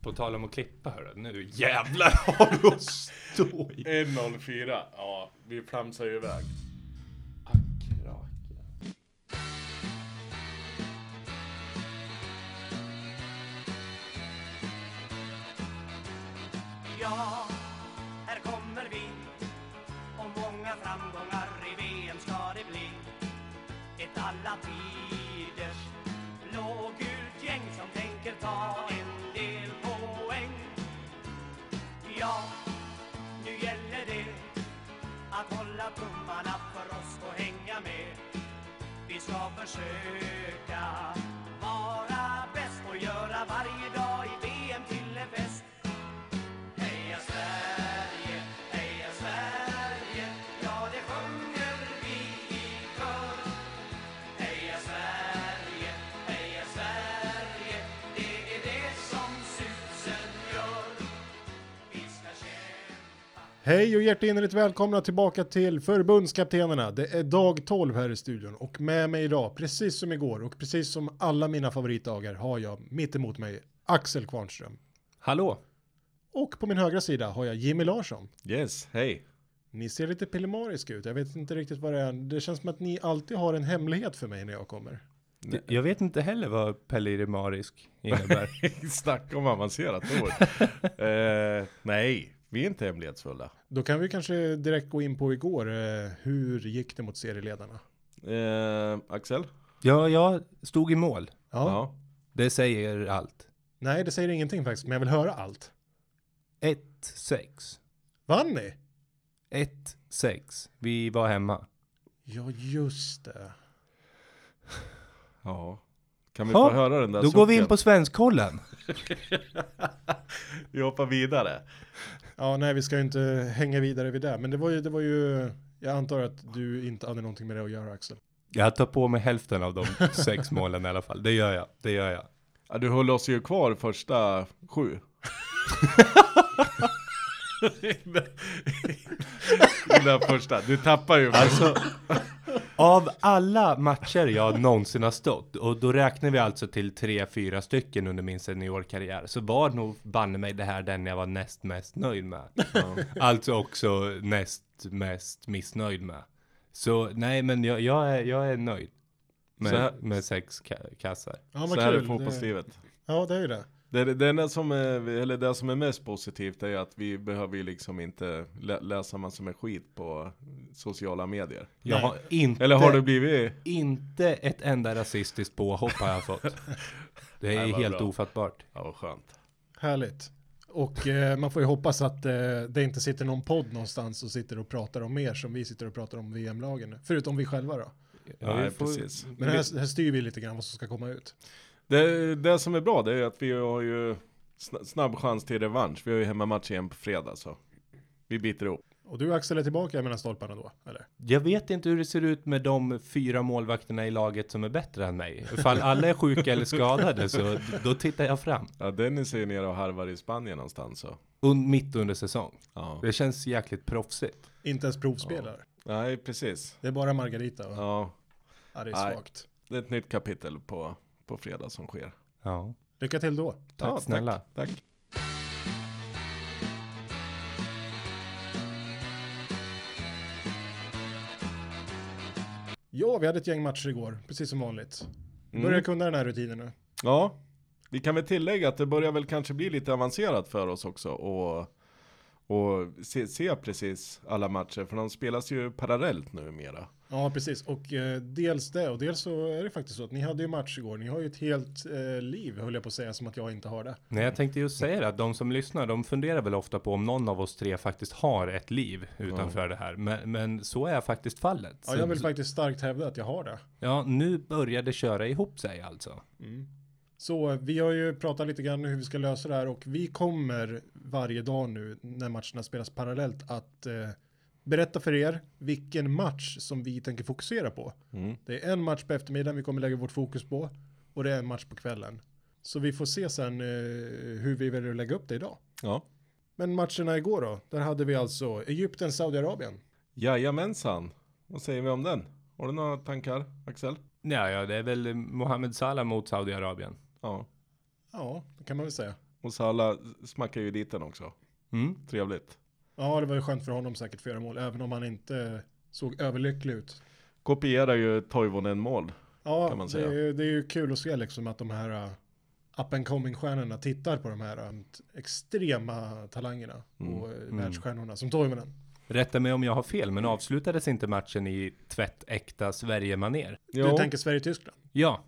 På tal om att klippa hörru, nu jävlar har du att stå i. 1.04. Ja, vi flamsar ju iväg. Ackraka. Ja, här kommer vi Och många framgångar i VM ska det bli Ett alla tiders blågult gäng som tänker ta en del poäng Ja, nu gäller det att hålla tummarna för oss och hänga med Vi ska försöka vara bäst och göra varje dag i VM till en fest Heja Sverige, heja Sverige, ja det sjunger vi i kör. Heja Sverige, heja Sverige, det är det som susen gör. Vi ska kämpa Hej och hjärtinnerligt välkomna tillbaka till Förbundskaptenerna. Det är dag 12 här i studion och med mig idag, precis som igår och precis som alla mina favoritdagar har jag mitt emot mig Axel Kvarnström. Hallå! Och på min högra sida har jag Jimmy Larsson. Yes, hej. Ni ser lite pillemariska ut, jag vet inte riktigt vad det är. Det känns som att ni alltid har en hemlighet för mig när jag kommer. Jag vet inte heller vad pellerimarisk innebär. Snacka om avancerat ord. eh, nej, vi är inte hemlighetsfulla. Då kan vi kanske direkt gå in på igår, eh, hur gick det mot serieledarna? Eh, Axel? ja, jag stod i mål. Ja. Det säger allt. Nej, det säger ingenting faktiskt, men jag vill höra allt. 1-6. Vann ni? 1-6. Vi var hemma. Ja, just det. ja. Kan vi Ja, få höra den där Då går vi in sucken? på Svenskkollen. Vi hoppar vidare. Ja, nej, vi ska ju inte hänga vidare vid det, men det var ju, det var ju, jag antar att du inte hade någonting med det att göra, Axel. Jag tar på mig hälften av de sex målen i alla fall. Det gör jag. Det gör jag. Ja, du höll oss ju kvar första sju. Den där första. Du tappar ju. Alltså, av alla matcher jag någonsin har stått, och då räknar vi alltså till tre, fyra stycken under min seniorkarriär, så var nog banne mig det här den jag var näst mest nöjd med. Alltså också näst mest missnöjd med. Så nej, men jag, jag, är, jag är nöjd Så med, här- med sex ka- kassar. Ja, Så här är det, fotbollslivet. ja, det är ju det. Det, det, det, enda som är, eller det som är mest positivt är att vi behöver ju liksom inte lä, läsa massor med skit på sociala medier. Jag har inte, Eller har det blivit? inte ett enda rasistiskt påhopp har jag fått. Det är Nej, vad helt bra. ofattbart. Ja, vad skönt. Härligt. Och eh, man får ju hoppas att eh, det inte sitter någon podd någonstans och sitter och pratar om mer som vi sitter och pratar om VM-lagen. nu. Förutom vi själva då. Ja, Nej, vi får- precis. Men här, här styr vi lite grann vad som ska komma ut. Det, det som är bra det är att vi har ju sn- snabb chans till revansch. Vi har ju hemmamatch igen på fredag så vi biter ihop. Och du Axel är tillbaka mellan stolparna då, eller? Jag vet inte hur det ser ut med de fyra målvakterna i laget som är bättre än mig. Ifall alla är sjuka eller skadade så då tittar jag fram. Ja, Dennis är ju nere och harvar i Spanien någonstans så. Un, mitt under säsong. Ja. Det känns jäkligt proffsigt. Inte ens provspelar. Nej, precis. Det är bara Margarita och Ja, ja, det är Nej. svagt. det är ett nytt kapitel på, på fredag som sker. Ja, Lycka till då. tack Ja, snälla. Tack. Ja, vi hade ett gäng matcher igår, precis som vanligt. Mm. Börjar kunna den här rutinen nu. Ja, vi kan väl tillägga att det börjar väl kanske bli lite avancerat för oss också och, och se, se precis alla matcher, för de spelas ju parallellt numera. Ja, precis. Och eh, dels det, och dels så är det faktiskt så att ni hade ju match igår. Ni har ju ett helt eh, liv, höll jag på att säga, som att jag inte har det. Nej, jag tänkte just säga det att de som lyssnar, de funderar väl ofta på om någon av oss tre faktiskt har ett liv utanför det här. Men, men så är faktiskt fallet. Ja, Så- jag vill faktiskt starkt hävda att jag har det. ja, nu börjar det köra ihop sig alltså. Så eh, vi har ju pratat lite grann hur vi ska lösa det här och vi kommer varje dag nu när matcherna spelas parallellt att eh, berätta för er vilken match som vi tänker fokusera på. Det är en match på eftermiddagen vi kommer lägga vårt fokus på och det är en match på kvällen. Så vi får se sen eh, hur vi väljer att lägga upp det idag. Ja. Men matcherna igår då, där hade vi alltså Egypten, Saudiarabien. Jajamensan, vad säger vi om den? Har du några tankar, Axel? Ja, ja, det är väl Mohamed Salah mot Saudiarabien. Ja, Ja, det kan man väl säga. Och Salah smackar ju dit den också. Mm. Trevligt. Ja, det var ju skönt för honom säkert att få göra mål, även om han inte såg överlycklig ut. Kopierar ju Toivonen mål. Ja, Kan man det, säga. är ju- det är ju kul att se liksom att de här uh, up and coming-stjärnorna tittar på de här uh, extrema talangerna Mm. och uh, världsstjärnorna som Toivonen. Rätta mig om jag har fel, men avslutades inte matchen i tvättäkta Sverige-manér? Du Jo, tänker Sverige-Tyskland? Ja,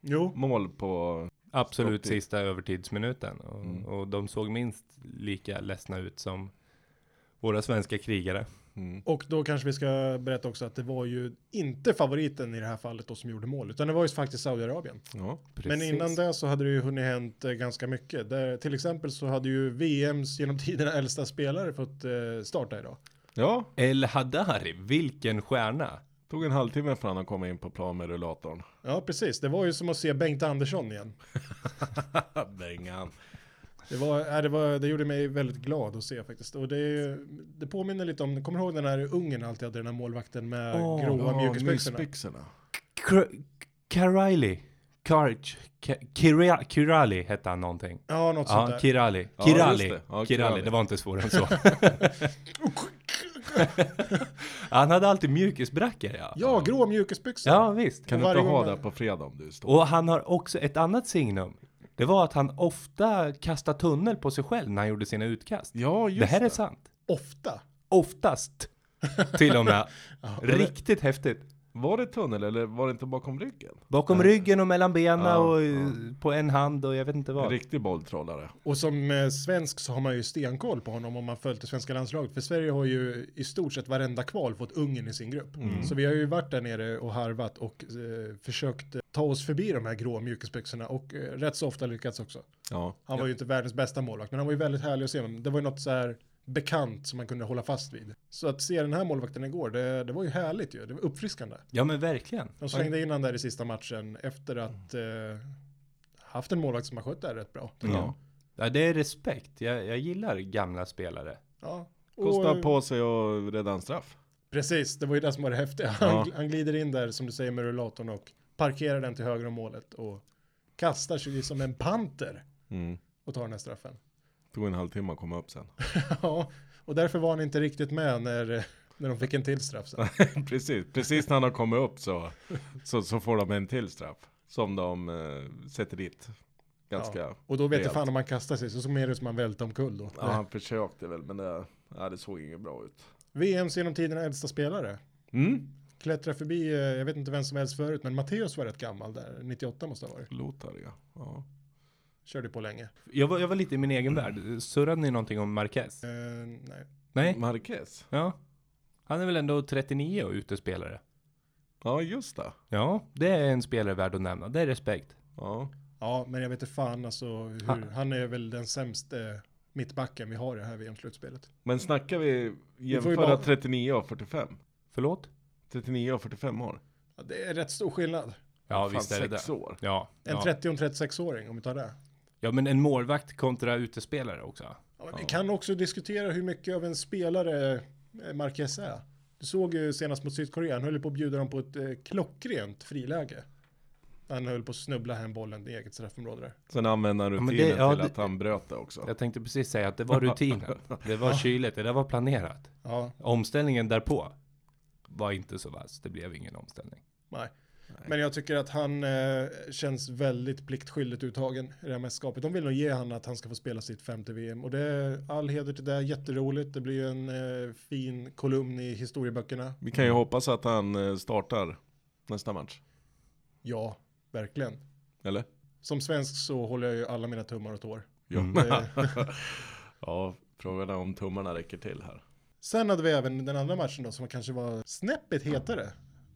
Jo, mål på... absolut Stopptid. sista övertidsminuten. Och, och de såg minst lika ledsna ut som våra svenska krigare. och då kanske vi ska berätta också att det var ju inte favoriten i det här fallet då som gjorde mål, utan det var ju faktiskt Saudiarabien. Ja. Men innan det så hade det ju hunnit hänt eh, ganska mycket. Där, till exempel så hade ju VMs genom tiderna äldsta spelare fått eh, starta idag. ja, El Hadari, vilken stjärna! tog en halvtimme för han att komma in på plan med rullatorn. Ja, precis. Det var ju som att se Bengt Andersson igen. Bengan. Det, var, äh, det, var, det gjorde mig väldigt glad att se faktiskt. Och det, det påminner lite om, kommer du ihåg den här ungen alltid hade den här målvakten med Åh, gråa Ja, mjukisbyxorna? mysbyxorna. Kr- Karaili, Karch, Ka- Kira- Kirali hette han någonting. Ja, något sånt Ja, där. Kirali. Ja, Kirali. just det. Ja, Kirali. Kirali. Det var inte svårare än så. Han hade alltid mjukisbrackor ja. Ja, grå mjukisbyxor. Ja, visst. Kan Och du inte varje gång ha man- det på fredag om du är stor? Och han har också ett annat signum. Det var att han ofta kastade tunnel på sig själv när han gjorde sina utkast. Ja, just det här är sant. Ofta. Oftast. Till och med. Riktigt häftigt. Var det tunnel eller var det inte bakom ryggen? Bakom ryggen och mellan benen Ja, och eh, ja. på en hand och jag vet inte En vad. riktig bolltrollare. Och som eh, svensk så har man ju stenkoll på honom om man följt det svenska landslaget. För Sverige har ju i stort sett varenda kval fått Ungern i sin grupp. Så vi har ju varit där nere och harvat och eh, försökt eh, ta oss förbi de här grå mjukisbyxorna och eh, rätt så ofta lyckats också. Ja. Han var ju inte världens bästa målvakt, men han var ju väldigt härlig att se. Men Det var ju något så här bekant som man kunde hålla fast vid. Så att se den här målvakten igår, det, det var ju härligt ju. Det var uppfriskande. Ja men verkligen. De slängde in han där i sista matchen efter att eh, haft en målvakt som har skött det här rätt bra. tycker jag. ja. Ja, det är respekt. Jag, jag gillar gamla spelare. Ja. Kostar Och- på sig och redan straff. Precis, det var ju det som var det häftiga. Han, Ja. han glider in där som du säger med rullatorn och parkerar den till höger om målet och kastar sig som en panter Mm. och tar den här straffen. Tog en halvtimme att komma upp sen. ja, och därför var han inte riktigt med när, när de fick en till straff sen. precis, precis när han har kommit upp så, så, så får de en till straff. Som de eh, sätter dit. Ganska. Ja. Och då vet jag rejält. fan om han kastar sig, så såg mer ut som han välte omkull då. Ja, han försökte väl men det, ja, det såg inget bra ut. VMs genom tiderna äldsta spelare. Mm. Klättrar förbi, eh, jag vet inte vem som helst förut, men Matteus var rätt gammal där, 98 måste ha varit. Lothar ja. ja. Körde på länge. Jag var, jag var lite i min egen värld. Surrade ni någonting om Marquez? Eh, nej. Nej? Marquez. Ja. Han är väl ändå 39 och utespelare? Ja just det. Ja, det är en spelare värd att nämna. Det är respekt. Ja. Ja, men jag vet inte fan alltså hur, han är väl den sämste mittbacken vi har i det här VM-slutspelet. Men snackar vi får jämföra ju bara- 39 och 45? Förlåt? 39 och 45 år. Ja, det är rätt stor skillnad. Ja, Fan, visst är det sex det. år. Ja, En ja. 30 och en 36-åring om vi tar det. ja, men en målvakt kontra utespelare också. Ja, men Vi kan också diskutera hur mycket av en spelare eh, Marquez är. Du såg ju senast mot Sydkorea, han höll ju på att bjuda dem på ett eh, klockrent friläge. Han höll på att snubbla hem bollen i eget straffområde där. Sen använder han men det- rutinen ja, till det- att han bröt det också. Jag tänkte precis säga att det var rutinen. Det var kyligt, det där var planerat. Ja, Omställningen därpå var inte så vass. Det blev ingen omställning. nej. Men jag tycker att han eh, känns väldigt pliktskyldigt uttagen i det här mästerskapet. De vill nog ge han att han ska få spela sitt femte VM. Och det är all heder till det, jätteroligt. Det blir ju en eh, fin kolumn i historieböckerna. Vi Mm. kan ju hoppas att han eh, startar nästa match. Ja, verkligen. Eller? Som svensk så håller jag ju alla mina tummar och tår. Ja. Mm. Eh, ja, frågan är om tummarna räcker till här. Sen hade vi även den andra matchen då som kanske var snäppet hetare.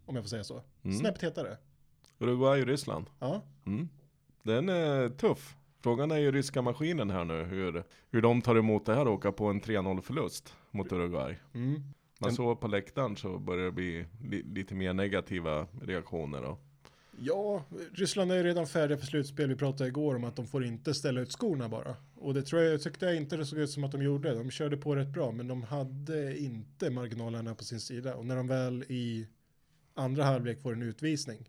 Om jag får säga så. Snäppet hetare. Uruguay och Ryssland. Mm. Ja. Den är tuff. Frågan är ju ryska maskinen här nu hur, hur de tar emot det här och åka på en 3-0 förlust mot Uruguay. Mm. Man såg på läktaren så börjar det bli li, lite mer negativa reaktioner då. Ja, Ryssland är ju redan färdiga för slutspel. Vi pratade igår om att de får inte ställa ut skorna bara. Och det tror jag, tyckte jag inte det såg ut som att de gjorde. De körde på rätt bra, men de hade inte marginalerna på sin sida. Och när de väl i andra Mm. halvlek får en utvisning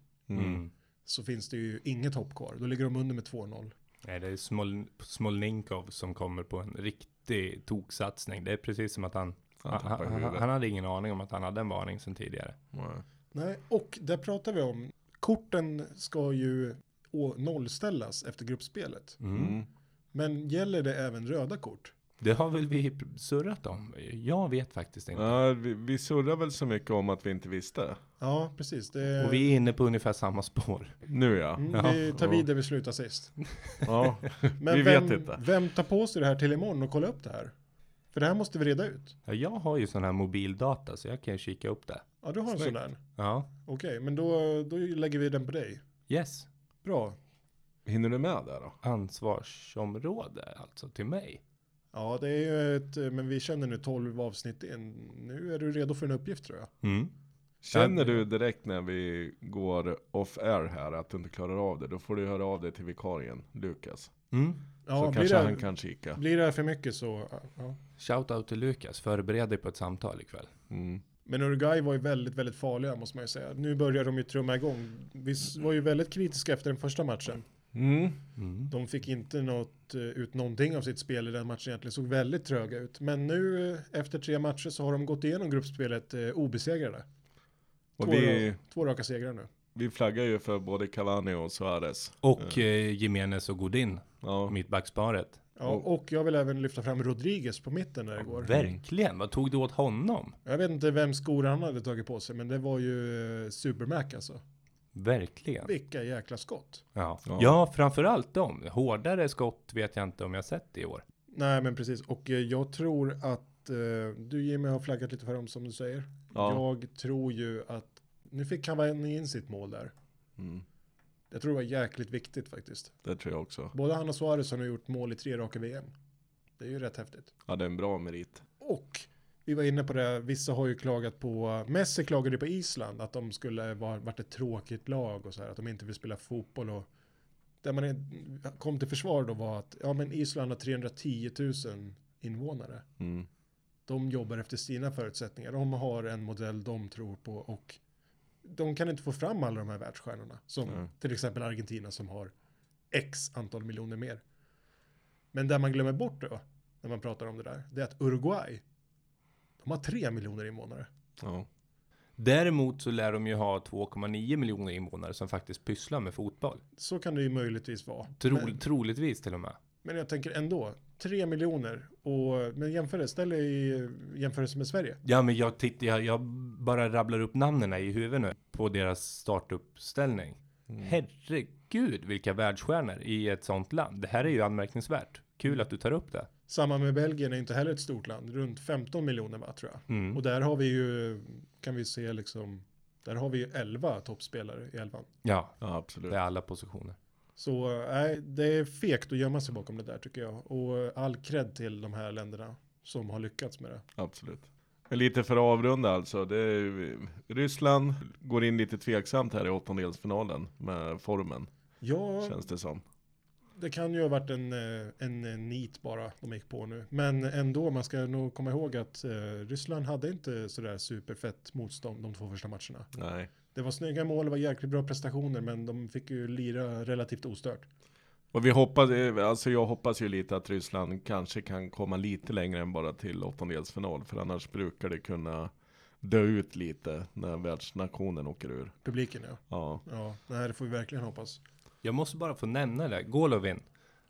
så finns det ju inget hopp kvar. Då ligger de under med 2-0. Nej, det är Smol Smolninkov som kommer på en riktig toksatsning. Det är precis som att han, Han han, tappar han, huvudet. han hade ingen aning om att han hade en varning sedan tidigare. Nej. Mm. Nej, och där pratar vi om, korten ska ju å- nollställas efter gruppspelet. Mm. Men gäller det även röda kort? Det har väl vi pr- surrat om? Jag vet faktiskt inte. Ja, vi, vi surrar väl så mycket om att vi inte visste. Ja, precis. Det, Och vi är inne på ungefär samma spår. Nu ja. Mm, Ja. vi tar vid där vi slutade sist. ja. Men Vi vem, vet inte. vem tar på sig det här till imorgon och kollar upp det här? För det här måste vi reda ut. Ja, jag har ju sån här mobildata så jag kan ju kika upp det. Ja, du har en sån Snyggt. där. Ja, Okej, men då, då lägger vi den på dig. yes. Bra. Hinner du med där då? Ansvarsområde alltså till mig. Ja, det är ju ett, men vi känner nu 12 avsnitt in. Nu är du redo för en uppgift tror jag. Mm. Känner du direkt när vi går off air här att du inte klarar av det, då får du höra av dig till vikarien Lukas. Mm. Så Ja, blir, kanske det, han kan kika. blir det här för mycket så, ja. Shout out till Lukas, förbered dig på ett samtal ikväll. Mm. Men Uruguay var ju väldigt, väldigt farliga måste man ju säga. Nu börjar de ju trumma igång. Vi s- var ju väldigt kritiska efter den första matchen. Mm. Mm. De fick inte något, eh, ut någonting av sitt spel i den matchen egentligen. Såg väldigt tröga ut. Men nu eh, efter tre matcher så har de gått igenom gruppspelet eh, obesegrade. Och Två, vi, två raka segrar nu. vi flaggar ju för både Cavani och Suarez. Och eh, Jimenez och Godin, Ja. mittbacksparet. Ja, och jag vill även lyfta fram Rodriguez på mitten där igår. Verkligen, vad tog du åt honom? Jag vet inte vem skor han hade tagit på sig, men det var ju eh, Supermac alltså. Verkligen. Vilka jäkla skott. Ja. Ja. ja, framförallt dem. Hårdare skott vet jag inte om jag sett i år. Nej, men precis. Och eh, jag tror att eh, du Jimmy har flaggat lite för dem som du säger. Ja. Jag tror ju att nu fick Cavani in sitt mål där. Mm. Jag tror det var jäkligt viktigt faktiskt. Det tror jag också. Både han och Suarez har nu gjort mål i tre raka VM. Det är ju rätt häftigt. Ja, det är en bra merit. Och vi var inne på det, vissa har ju klagat på, Messi klagade på Island att de skulle vara varit ett tråkigt lag och så här, att de inte vill spela fotboll och där man är, kom till försvar då var att, ja men Island har 310 000 invånare. Mm. De jobbar efter sina förutsättningar, de har en modell de tror på och de kan inte få fram alla de här världsstjärnorna. Som Nej. till exempel Argentina som har x antal miljoner mer. Men där man glömmer bort då, när man pratar om det där, det är att Uruguay, de har 3 miljoner invånare. Ja. Däremot så lär de ju ha 2,9 miljoner invånare som faktiskt pysslar med fotboll. Så kan det ju möjligtvis vara. Tro, Men, Troligtvis till och med. men jag tänker ändå, 3 miljoner, och, men jämför det, ställ det i jämförelse med Sverige. Ja, men jag tittar, jag, jag bara rabblar upp namnen här i huvudet nu på deras startuppställning. Herregud, vilka världsstjärnor i ett sånt land. Det här är ju anmärkningsvärt. Kul att du tar upp det. Samma med Belgien är inte heller ett stort land, runt 15 miljoner va, tror jag. Mm. Och där har vi ju, kan vi se liksom, där har vi ju 11 toppspelare i elvan. Ja, ja, det absolut. är alla positioner. Så nej, det är fegt att gömma sig bakom det där tycker jag. Och eh, all cred till de här länderna som har lyckats med det. Absolut. Men Lite för att avrunda alltså. Det är, ju- Ryssland går in lite tveksamt här i åttondelsfinalen med formen, Ja, känns det som. det kan ju ha varit en, eh, en eh, nit bara de gick på nu. Men ändå, man ska nog komma ihåg att eh, Ryssland hade inte sådär superfett motstånd de två första matcherna. Nej. Det var snygga mål, det var jäkligt bra prestationer, men de fick ju lira relativt ostört. Och vi hoppas, eh, alltså jag hoppas ju lite att Ryssland kanske kan komma lite längre än bara till åttondelsfinal, för annars brukar det kunna dö ut lite när världsnationen åker ur. Publiken ja. Ja, Ja, nej, det får vi verkligen hoppas. Jag måste bara få nämna det. Golovin.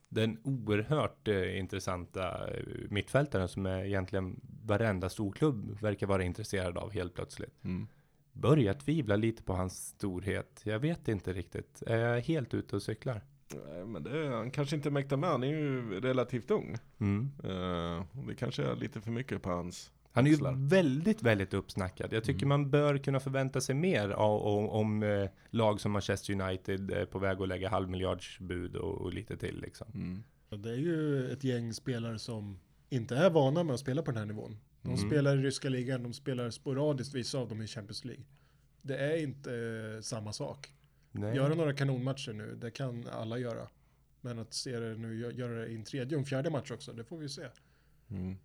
Den oerhört eh, intressanta eh, mittfältaren som är egentligen varenda storklubb verkar vara intresserad av helt plötsligt. mm. Börjar tvivla lite på hans storhet. Jag vet inte riktigt. Är jag helt ute och cyklar? Nej, men det, han kanske inte mäktar med, han är ju relativt ung. Mm. Eh, och det kanske är lite för mycket på hans. Han är ju Axlar. väldigt, väldigt uppsnackad. Jag tycker man bör kunna förvänta sig mer av, om, om eh, lag som Manchester United är på väg att lägga halvmiljardsbud och, och lite till liksom. Mm. Det är ju ett gäng spelare som inte är vana med att spela på den här nivån. De Mm. spelar i ryska ligan, de spelar sporadiskt, vissa av dem i Champions League. Det är inte eh, samma sak. Nej. Göra några kanonmatcher nu, det kan alla göra. Men att se det nu, gö- göra det i en tredje och en fjärde match också, det får vi se. Mm.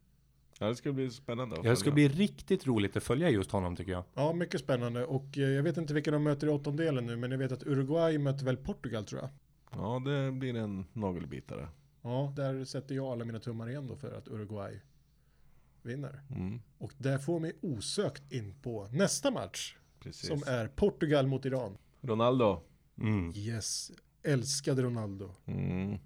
Ja, det ska bli spännande. att Ja, det ska följa. bli riktigt roligt att följa just honom tycker jag. Ja, mycket spännande. Och eh, jag vet inte vilka de möter i åttondelen nu, men jag vet att Uruguay möter väl Portugal tror jag. Ja, det blir en nagelbitare. Ja, där sätter jag alla mina tummar igen då för att Uruguay vinner. Mm, Och det får mig osökt in på nästa match. precis. Som är Portugal mot Iran. Ronaldo. Mm. Yes, älskade Ronaldo. Mm.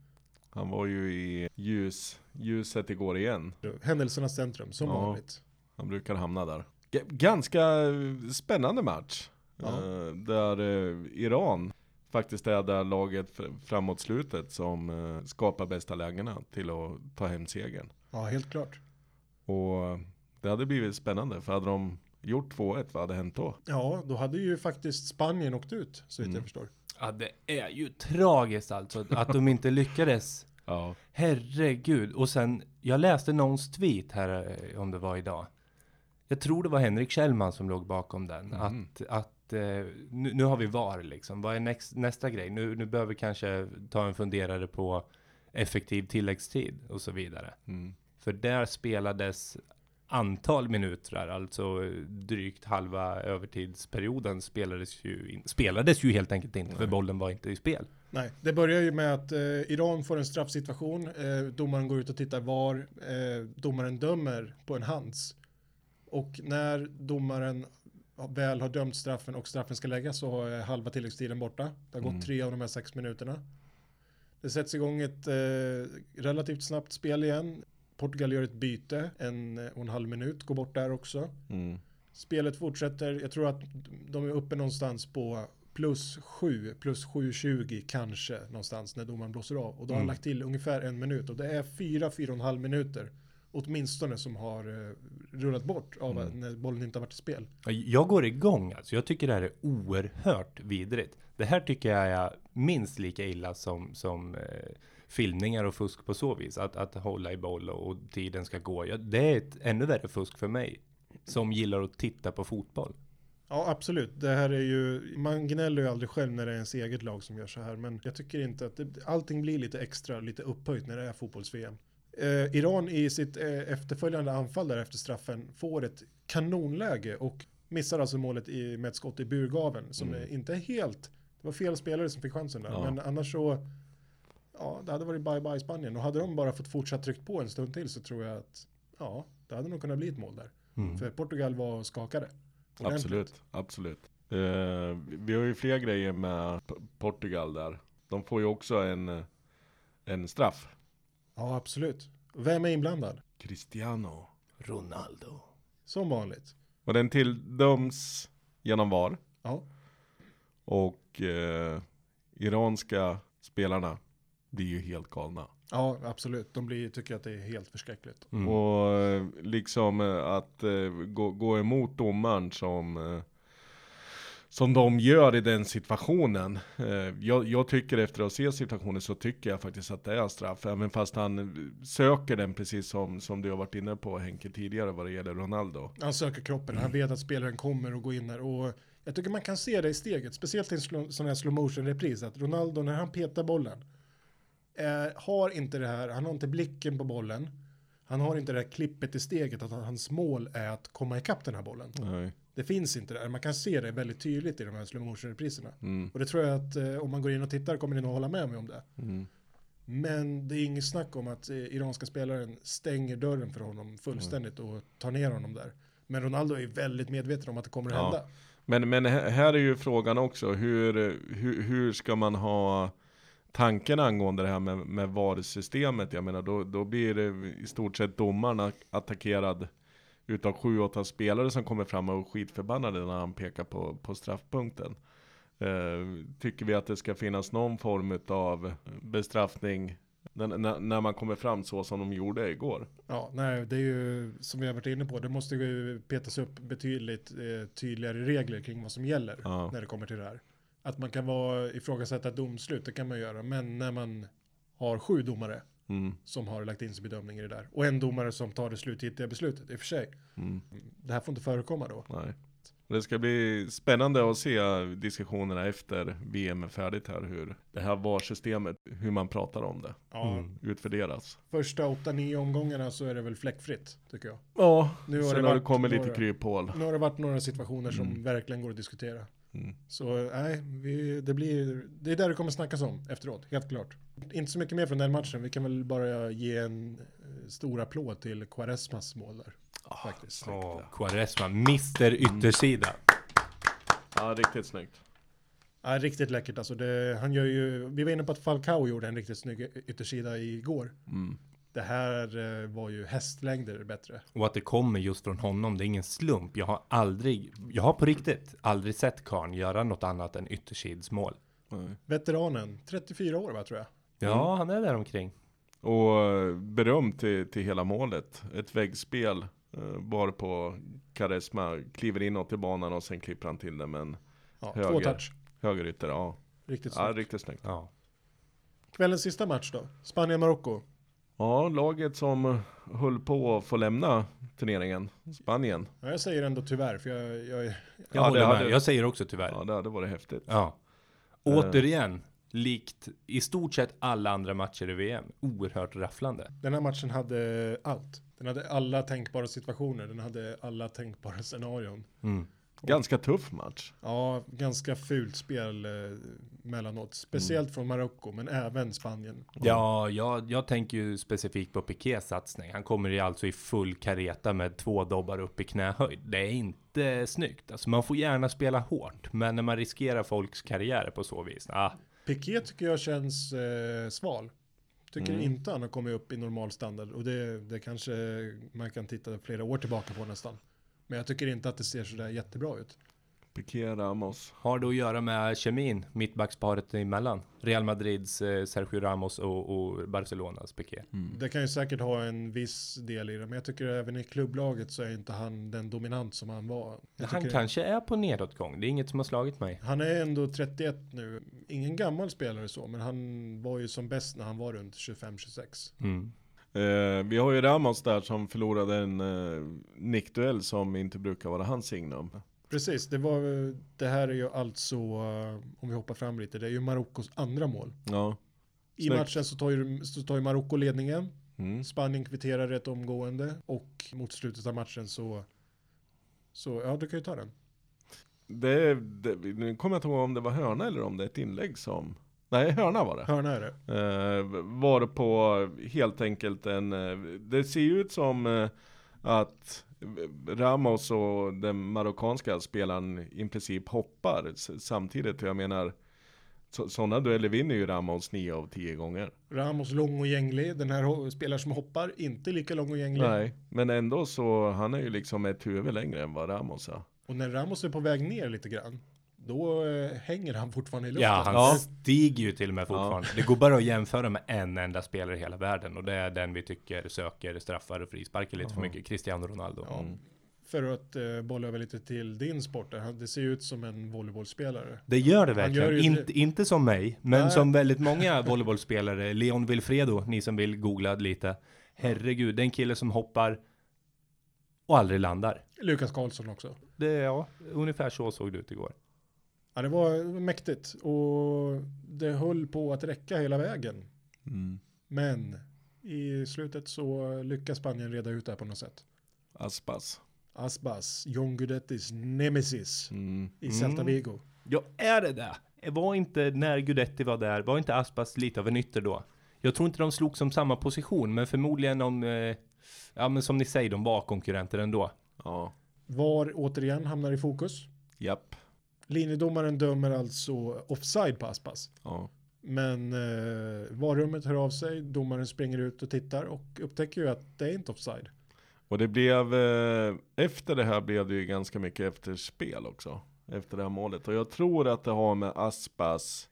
Han var ju i ljus, ljuset igår igen. Händelsernas centrum, som Ja. vanligt. Han brukar hamna där. G- ganska eh, spännande match. Ja. Eh, där eh, Iran faktiskt är där laget fr- framåt slutet som eh, skapar bästa lägena till att ta hem segern. Ja, helt klart. Och eh, det hade blivit spännande för hade de gjort 2-1, vad hade hänt då? Ja, då hade ju faktiskt Spanien åkt ut, så Mm. vitt jag förstår. Ja, det är ju tragiskt alltså att de inte lyckades. Ja. Herregud. Och sen, jag läste någons tweet här, eh, om det var idag. Jag tror det var Henrik Kjellman som låg bakom den. Att, att eh, nu, nu har vi VAR liksom. Vad är näst, nästa grej? Nu, nu behöver vi kanske ta en funderare på effektiv tilläggstid och så vidare. Mm. För där spelades antal minuter, alltså eh, drygt halva övertidsperioden spelades ju, in, spelades ju helt enkelt inte för bollen var inte i spel. Nej, det börjar ju med att eh, Iran får en straffsituation. Eh, domaren går ut och tittar var. Eh, domaren dömer på en hands. Och när domaren väl har dömt straffen och straffen ska läggas så har eh, halva tilläggstiden borta. Det har gått tre av de här sex minuterna. Det sätts igång ett eh, relativt snabbt spel igen. Portugal gör ett byte, en eh, och en halv minut går bort där också. Mm. Spelet fortsätter. Jag tror att de är uppe någonstans på plus 7, plus 7,20 kanske någonstans när domaren blåser av. Och då har han lagt till ungefär en minut och det är fyra, fyra och en halv minuter åtminstone som har eh, rullat bort av när bollen inte har varit i spel. Jag går igång alltså. Jag tycker det här är oerhört vidrigt. Det här tycker jag är minst lika illa som, som eh, filmningar och fusk på så vis. Att, att hålla i boll och, och tiden ska gå. Ja, det är ett ännu värre fusk för mig. Som gillar att titta på fotboll. Ja, absolut. Det här är ju, man gnäller ju aldrig själv när det är ens eget lag som gör så här, men jag tycker inte att det, allting blir lite extra, lite upphöjt när det är fotbolls-VM. Eh, Iran i sitt eh, efterföljande anfall där efter straffen får ett kanonläge och missar alltså målet i, med ett skott i burgaven som är inte är helt, det var fel spelare som fick chansen där, Mm. Ja. men annars så, ja, det hade varit bye-bye Spanien och hade de bara fått fortsatt tryckt på en stund till så tror jag att, ja, det hade nog kunnat bli ett mål där. För Portugal var skakade. Ordentligt. Mm. Absolut, absolut. Eh, vi har ju fler grejer med P- Portugal där. De får ju också en, eh, en straff. Ja, absolut. Vem är inblandad? Cristiano. Ronaldo. Som vanligt. Och den tilldöms genom VAR. Ja, Och eh, iranska spelarna blir ju helt galna. ja absolut. De blir, tycker att det är helt förskräckligt. Mm. Och eh, liksom eh, att eh, gå, gå emot domaren som eh, som de gör i den situationen. Eh, Jag, jag tycker efter att ha sett situationen så tycker jag faktiskt att det är straff. Även fast han eh, söker den precis som, som du har varit inne på Henke tidigare vad det gäller Ronaldo. Han söker kroppen, han vet att spelaren kommer och går in där. Och jag tycker man kan se det i steget, speciellt i en slow, sån här slow motion repris, att Ronaldo när han petar bollen eh, har inte det här, han har inte blicken på bollen. Han har inte det här klippet i steget att hans mål är att komma ikapp den här bollen. Nej. Det finns inte där. Man kan se det väldigt tydligt i de här slow motion repriserna. Mm. Och det tror jag att eh, om man går in och tittar kommer ni nog hålla med mig om det. Mm. Men det är inget snack om att eh, iranska spelaren stänger dörren för honom fullständigt Mm. och tar ner honom där. Men Ronaldo är väldigt medveten om att det kommer att Ja. hända. Men, men här här är ju frågan också, hur, hur, hur ska man ha tanken angående det här med, med VAR-systemet? Jag menar, då, då blir det i stort sett domaren a- attackerad utav sju, åtta spelare som kommer fram och är skitförbannade när han pekar på, på straffpunkten. Eh, tycker vi att det ska finnas någon form av bestraffning när, när, när man kommer fram så som de gjorde igår? Ja, nej, det är ju som vi har varit inne på. Det måste ju petas upp betydligt eh, tydligare regler kring vad som gäller Ja. när det kommer till det här. Att man kan vara ifrågasätta ett domslut, det kan man göra. Men när man har sju domare Mm, som har lagt in sin bedömning i det där. Och en domare som tar det slutgiltiga beslutet, i och för sig. mm. Det här får inte förekomma då. Nej. Det ska bli spännande att se diskussionerna efter VM är färdigt här. Hur det här VAR-systemet, hur man pratar om det, Ja, Mm. utvärderas. Första 8-9 omgångarna så är det väl fläckfritt, tycker jag. Ja, Nu har sen det har det varit kommit lite några- kryphål. Nu har det varit några situationer som verkligen går att diskutera. Mm. Så eh, nej, vi, det, blir, det är där det kommer snackas om efteråt, helt klart. Inte så mycket mer från den matchen, vi kan väl bara ge en eh, stor applåd till Quaresmas mål där. faktiskt. Åh, Quaresma, Mr Yttersida. Ja, riktigt snyggt. Ja, riktigt läckert alltså. Det, han gör ju, vi var inne på att Falcao gjorde en riktigt snygg yttersida igår. Mm. Det här eh, var ju hästlängder bättre. Och att det kommer just från honom, det är ingen slump. Jag har aldrig, jag har på riktigt aldrig sett Karn göra något annat än yttersidsmål. Nej. Veteranen, 34 år va tror jag. Ja, han är där omkring. Och eh, beröm till, till hela målet. Ett väggspel eh, bar på Karesma, kliver inåt i banan och sen klipper han till det med en Ja, Höger. två touch. högerytter. Ja. Riktigt ja, snyggt. riktigt snyggt. Ja. Kvällens sista match då, Spanien-Marocko. Ja, laget som höll på att få lämna turneringen, Spanien. Ja, jag säger ändå tyvärr, för jag, jag är Jag Ja, håller det med. hade- Jag säger också tyvärr. Ja, Eh. det hade varit häftigt. Ja. Återigen, likt i stort sett alla andra matcher i VM, oerhört rafflande. Den här matchen hade allt. Den hade alla tänkbara situationer, den hade alla tänkbara scenarion. Ganska tuff match. Ja, ganska fult spel eh, mellanåt. Mm. Speciellt från Marocko, men även Spanien. Ja, jag, jag tänker ju specifikt på Pikés satsning. Han kommer ju alltså i full kareta med två dobbar upp i knähöjd. Det är inte snyggt. Alltså man får gärna spela hårt, men när man riskerar folks karriärer på så vis. Ah, Piqué tycker jag känns eh, sval. Tycker inte han har kommit upp i normal standard. Och det, det kanske man kan titta flera år tillbaka på nästan. Men jag tycker inte att det ser sådär jättebra ut. Piqué Ramos. har det att göra med kemin, mittbacksparet emellan. Real Madrids eh, Sergio Ramos och, och Barcelonas Piqué. Mm. Det kan ju säkert ha en viss del i det. Men jag tycker även i klubblaget så är inte han den dominant som han var. Jag Han tycker- kanske är på nedåtgång. Det är inget som har slagit mig. Han är ändå 31 nu. Ingen gammal spelare så, men han var ju som bäst när han var runt 25-26. Mm. Eh, vi har ju Ramos där som förlorade en eh, nickduell som inte brukar vara hans signum. Precis, det var det här är ju alltså, eh, om vi hoppar fram lite, det är ju Marokkos andra mål. Ja. I Snyggt. matchen så tar ju, så tar ju Marocko ledningen. Mm. Spanien kvitterar rätt omgående och mot slutet av matchen så, så ja du kan ju ta den. Det, det, nu kommer jag inte ihåg om det var hörna eller om det är ett inlägg som... Nej, hörna var det. Hörna är det. Eh, var på helt enkelt en... eh, Det ser ju ut som eh, att Ramos och den marockanska spelaren i princip hoppar s- samtidigt. Jag menar, sådana dueller vinner ju Ramos 9 av 10 gånger. Ramos lång och gänglig, den här ho- spelaren som hoppar, inte lika lång och gänglig. Nej, men ändå så, han är ju liksom ett huvud längre än vad Ramos är. Och när Ramos är på väg ner lite grann, då eh, hänger han fortfarande i luften. Ja, han Ja. stiger ju till och med fortfarande. Det går bara att jämföra med en enda spelare i hela världen och det är den vi tycker söker straffar och frisparker lite för mycket. Cristiano Ronaldo. För att eh, bolla över lite till din sport där. Han, det ser ju ut som en volleybollspelare. Det gör det gör verkligen. ju inte, inte som mig, men Nej. som väldigt många volleybollspelare. Leon Wilfredo, ni som vill googla lite. Herregud, den kille som hoppar och aldrig landar. Lukas Karlsson också. Det, ja, ungefär så såg det ut igår. Ja, det var mäktigt och det höll på att räcka hela vägen. Men i slutet så lyckas Spanien reda ut det här på något sätt. Aspas. Aspas, John Guidettis nemesis Mm. i Celta Vigo. Ja, är det det? Var inte när Gudetti var där, var inte Aspas lite av en ytter då? Jag tror inte de slog som samma position, men förmodligen om, eh, ja men som ni säger, de var konkurrenter ändå. Ja, VAR återigen hamnar i fokus. japp. Linjedomaren dömer alltså offside på Aspas. Ja. Men eh, varummet hör av sig, domaren springer ut och tittar och upptäcker ju att det är inte offside. Och det blev, eh, efter det här blev det ju ganska mycket efterspel också. Efter det här målet. Och jag tror att det har med Aspas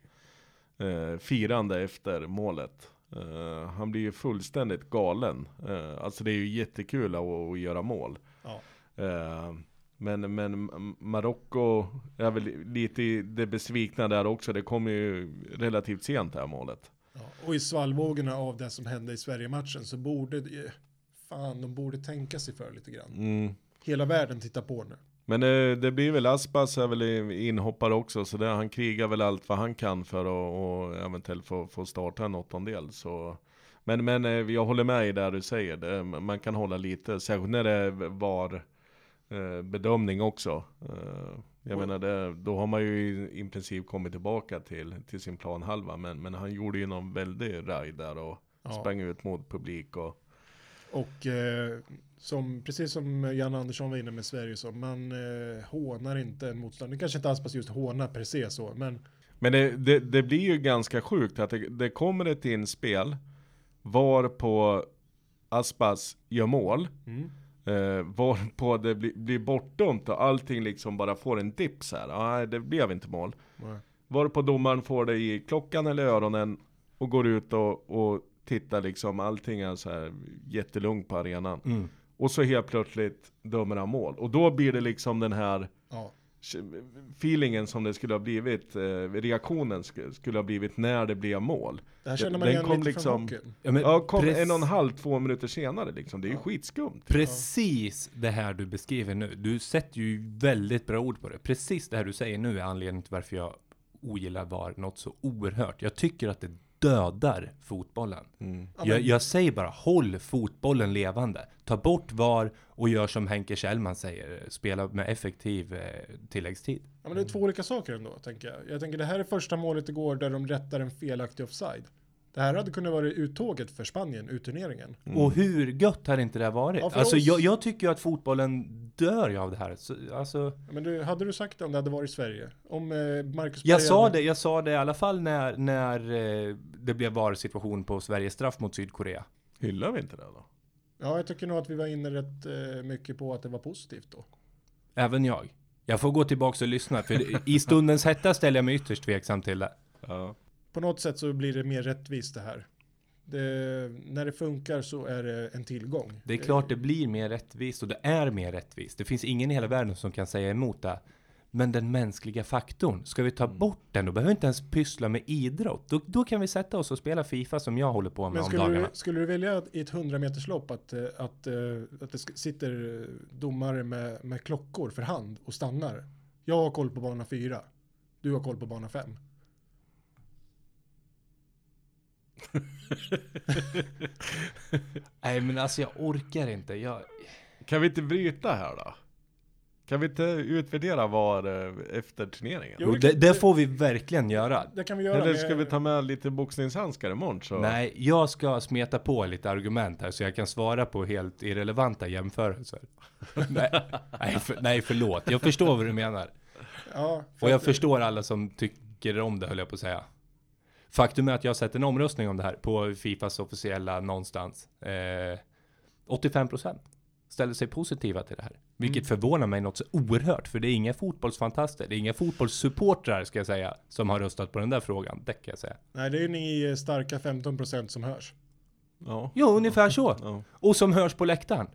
eh, firande efter målet. Eh, han blir ju fullständigt galen. Eh, alltså det är ju jättekul att, att göra mål. Ja. Eh, men men Marocko är väl lite i det besvikna där också. Det kommer ju relativt sent det här målet. Ja, och i svallvågorna av det som hände i Sverige-matchen så borde, eh, fan de borde tänka sig för lite grann. Mm. Hela världen tittar på nu. Men eh, det blir väl Aspas är väl i- inhoppare också, så där, han krigar väl allt vad han kan för att och eventuellt få, få starta en åttondel. Så. Men, men eh, jag håller med i det du säger, det, man kan hålla lite, särskilt när det var eh, bedömning också. Eh, Jag menar, det, då har man ju i, i princip kommit tillbaka till, till sin planhalva. Men, men han gjorde ju någon väldig raj där och Ja. sprang ut mot publik och Och eh, som, precis som Janne Andersson var inne med Sverige så, man eh, hånar inte en motståndare. Kanske inte Aspas just håna per se så, men Men det, det, det blir ju ganska sjukt att det, det kommer ett inspel var på Aspas gör mål. Mm. Eh, var på det blir, blir bortdömt och allting liksom bara får en dipp så här. Ah, Nej, det blev inte mål. Nej. Var på domaren får det i klockan eller öronen och går ut och, och tittar liksom allting är så här jättelugnt på arenan. Mm. Och så helt plötsligt dömer han mål. Och då blir det liksom den här ja. feelingen som det skulle ha blivit, eh, reaktionen sk- skulle ha blivit när det blev mål. Det här känner man Den igen kom lite liksom- från hockeyn. Ja, men Ja, kom precis- en och en halv, två minuter senare liksom. Det är ju skitskumt. Precis det här du beskriver nu. Du sätter ju väldigt bra ord på det. Precis det här du säger nu är anledningen till varför jag ogillar VAR något så oerhört. Jag tycker att det dödar fotbollen. Ja, Jag, men- jag säger bara håll fotbollen levande. Ta bort VAR och gör som Henke Kjellman säger. Spela med effektiv eh, tilläggstid. Ja, men det är två olika saker ändå, tänker jag. Jag tänker det här är första målet igår där de rättar en felaktig offside. Det här hade kunnat vara uttåget för Spanien, utturneringen. Och hur gött hade inte det här varit? Ja, för alltså oss- jag, jag tycker ju att fotbollen dör ju av det här. Så, alltså, Ja, Men du, hade du sagt det om det hade varit Sverige? Om eh, Marcus Jag Berg sa hade- det, jag sa det i alla fall när, när eh, det blev VAR-situation på Sveriges straff mot Sydkorea. Hyllar vi inte det då? Ja, jag tycker nog att vi var inne rätt eh, mycket på att det var positivt då. Även jag. Jag får gå tillbaka och lyssna, för det- i stundens hetta ställer jag mig ytterst tveksam till det. Ja. På något sätt så blir det mer rättvist det här. Det, när det funkar så är det en tillgång. Det är klart det blir mer rättvist och det är mer rättvist. Det finns ingen i hela världen som kan säga emot det. Men den mänskliga faktorn, ska vi ta Mm. bort den då behöver vi inte ens pyssla med idrott. Då, då kan vi sätta oss och spela Fifa som jag håller på med Eh, Men om skulle du, dagarna. skulle du välja att i ett 100 meterslopp att, eh, att, eh, att det sk- sitter eh, domare med, med klockor för hand och stannar? Jag har koll på bana 4. Du har koll på bana 5. Nej men alltså jag orkar inte. Jag... Kan vi inte bryta här då? Kan vi inte utvärdera VAR eh, efter turneringen? Jo, Jo, det, det får vi verkligen göra. Det kan vi göra. Eller med- ska vi ta med lite boxningshandskar imorgon? Så? Nej, jag ska smeta på lite argument här så jag kan svara på helt irrelevanta jämförelser. nej, nej, för, nej, förlåt. Jag förstår vad du menar. Ja, för Och jag att- förstår alla som tycker om det, höll jag på att säga. Faktum är att jag har sett en omröstning om det här på Fifas officiella någonstans. Eh, 85 procent ställer sig positiva till det här. Vilket förvånar mig något så oerhört, för det är inga fotbollsfantaster, det är inga fotbollssupportrar ska jag säga, som har röstat på den där frågan, det kan jag säga. Nej, det är ju ni eh, starka 15% som hörs. Ja. Jo, ungefär så. Ja. Och som hörs på läktaren.